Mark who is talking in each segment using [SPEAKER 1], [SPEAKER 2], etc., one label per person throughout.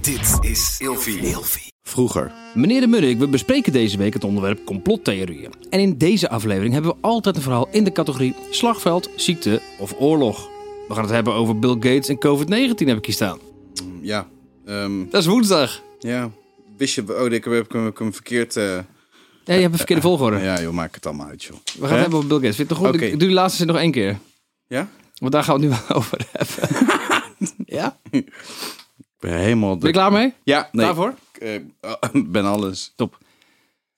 [SPEAKER 1] Dit is Ilfi.
[SPEAKER 2] Vroeger.
[SPEAKER 3] Meneer de Murrik, we bespreken deze week het onderwerp complottheorieën. En in deze aflevering hebben we altijd een verhaal in de categorie slagveld, ziekte of oorlog. We gaan het hebben over Bill Gates en COVID-19 heb ik hier staan.
[SPEAKER 2] Ja. ehm,
[SPEAKER 3] Dat is woensdag.
[SPEAKER 2] ja. Wist je... Oh, ik heb, heb ik hem- ik hem verkeerd... eh,
[SPEAKER 3] Ja, je hebt een verkeerde volgorde.
[SPEAKER 2] ja, joh, maak het allemaal uit, joh.
[SPEAKER 3] We gaan het hebben over Bill Gates. Vind je het goed?
[SPEAKER 2] Oké.
[SPEAKER 3] Ik doe die laatste zin nog één keer.
[SPEAKER 2] Ja?
[SPEAKER 3] Want daar gaan we het nu over hebben. ja? Ben
[SPEAKER 2] Ik ben helemaal...
[SPEAKER 3] je klaar mee?
[SPEAKER 2] Ja, nee.
[SPEAKER 3] Daarvoor?
[SPEAKER 2] Ik eh, ben alles.
[SPEAKER 3] Top.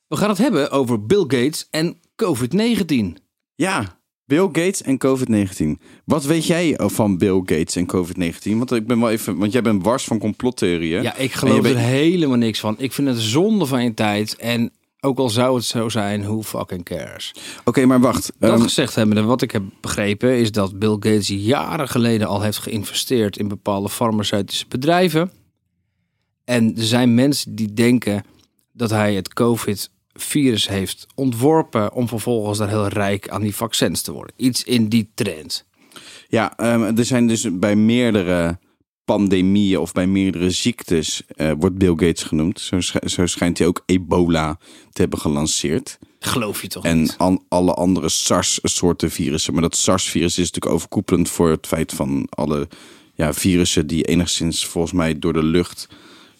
[SPEAKER 3] We gaan het hebben over Bill Gates en COVID-19.
[SPEAKER 2] Ja. Bill Gates en COVID-19. Wat weet jij van Bill Gates en COVID-19? Want ik ben wel even... Want jij bent wars van complottheorieën.
[SPEAKER 3] Ja, ik
[SPEAKER 2] En
[SPEAKER 3] geloof
[SPEAKER 2] je
[SPEAKER 3] er
[SPEAKER 2] weet-
[SPEAKER 3] helemaal niks van. Ik vind het zonde van je tijd. En ook al zou het zo zijn, who fucking cares?
[SPEAKER 2] Oké, maar wacht.
[SPEAKER 3] Dat
[SPEAKER 2] Ehm,
[SPEAKER 3] gezegd hebbende, wat ik heb begrepen is dat Bill Gates jaren geleden al heeft geïnvesteerd in bepaalde farmaceutische bedrijven. En er zijn mensen die denken dat hij het COVID-virus heeft ontworpen om vervolgens daar heel rijk aan die vaccins te worden. Iets in die trend.
[SPEAKER 2] Ja, ehm, er zijn dus bij meerdere pandemieën of bij meerdere ziektes eh, wordt Bill Gates genoemd. Zo, sch- zo schijnt hij ook ebola te hebben gelanceerd.
[SPEAKER 3] Geloof je toch
[SPEAKER 2] En
[SPEAKER 3] niet?
[SPEAKER 2] an- alle andere SARS-soorten virussen. Maar dat SARS-virus is natuurlijk overkoepelend voor het feit van alle ja, virussen die enigszins volgens mij door de lucht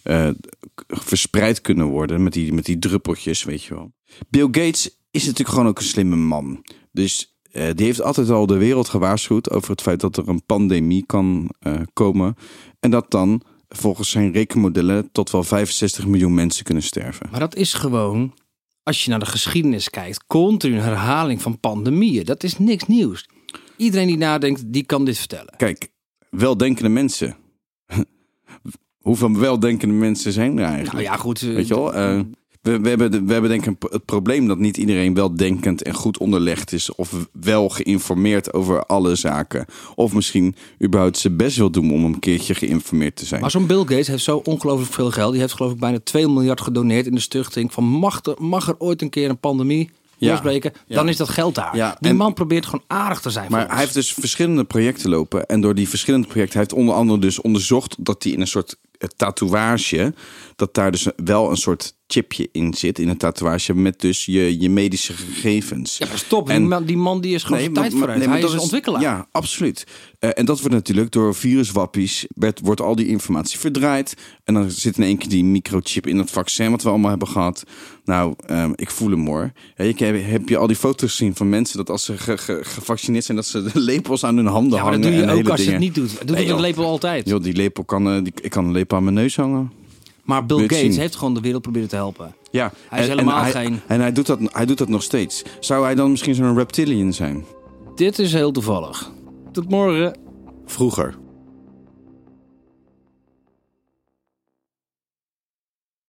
[SPEAKER 2] eh, k- verspreid kunnen worden. Met die, met die druppeltjes, weet je wel. Bill Gates is natuurlijk gewoon ook een slimme man. Dus eh, die heeft altijd al de wereld gewaarschuwd over het feit dat er een pandemie kan eh, komen. En dat dan volgens zijn rekenmodellen tot wel 65 miljoen mensen kunnen sterven.
[SPEAKER 3] Maar dat is gewoon, als je naar de geschiedenis kijkt, continu een herhaling van pandemieën. Dat is niks nieuws. Iedereen die nadenkt, die kan dit vertellen.
[SPEAKER 2] Kijk, weldenkende mensen. Hoeveel weldenkende mensen zijn er eigenlijk?
[SPEAKER 3] Nou ja, goed. eh,
[SPEAKER 2] Weet je wel? eh, we, we, hebben, de- we hebben denk ik een pro- het probleem dat niet iedereen weldenkend en goed onderlegd is. Of wel geïnformeerd over alle zaken. Of misschien überhaupt zijn best wil doen om een keertje geïnformeerd te zijn.
[SPEAKER 3] Maar zo'n Bill Gates heeft zo ongelooflijk veel geld. Die heeft geloof ik bijna 2 miljard gedoneerd in de stichting. Van mag er, mag er ooit een keer een pandemie
[SPEAKER 2] Ja.
[SPEAKER 3] losbreken, dan
[SPEAKER 2] Ja.
[SPEAKER 3] is dat geld daar.
[SPEAKER 2] Ja,
[SPEAKER 3] Die
[SPEAKER 2] en-
[SPEAKER 3] man probeert gewoon aardig te zijn. voor
[SPEAKER 2] Maar
[SPEAKER 3] ons.
[SPEAKER 2] hij heeft dus verschillende projecten lopen. En door die verschillende projecten, hij heeft onder andere dus onderzocht dat hij in een soort eh, tatoeage, dat daar dus wel een soort chipje in zit, in een tatoeage, met dus je, je medische gegevens.
[SPEAKER 3] Ja, maar stop.
[SPEAKER 2] En-
[SPEAKER 3] die, man, die man die is gewoon zijn
[SPEAKER 2] maar-
[SPEAKER 3] tijd
[SPEAKER 2] maar-
[SPEAKER 3] vooruit.
[SPEAKER 2] nee, maar
[SPEAKER 3] hij
[SPEAKER 2] dat
[SPEAKER 3] is een ontwikkelaar.
[SPEAKER 2] Ja, absoluut. Eh, en dat wordt natuurlijk door viruswappies, werd, wordt al die informatie verdraaid. En dan zit in één keer die microchip in dat vaccin wat we allemaal hebben gehad. Nou, ehm, ik voel hem hoor. Ja, ik heb, heb je al die foto's gezien van mensen dat als ze ge- ge- gevaccineerd zijn, dat ze de lepels aan hun handen
[SPEAKER 3] Ja, maar dat
[SPEAKER 2] hangen.
[SPEAKER 3] doe je
[SPEAKER 2] en
[SPEAKER 3] ook
[SPEAKER 2] hele
[SPEAKER 3] als je het
[SPEAKER 2] dingen.
[SPEAKER 3] niet doet. Dat doet
[SPEAKER 2] Nee,
[SPEAKER 3] hij met
[SPEAKER 2] joh.
[SPEAKER 3] lepel altijd.
[SPEAKER 2] Joh, die lepel kan, eh, die, ik kan een lepel aan mijn neus hangen.
[SPEAKER 3] Maar Bill
[SPEAKER 2] Wil je het
[SPEAKER 3] Gates
[SPEAKER 2] zien?
[SPEAKER 3] heeft gewoon de wereld proberen te helpen.
[SPEAKER 2] Ja,
[SPEAKER 3] Hij is helemaal
[SPEAKER 2] hij,
[SPEAKER 3] geen-
[SPEAKER 2] En hij doet, dat, hij doet dat nog steeds. Zou hij dan misschien zo'n reptilian zijn?
[SPEAKER 3] Dit is heel toevallig. Tot morgen.
[SPEAKER 2] Vroeger.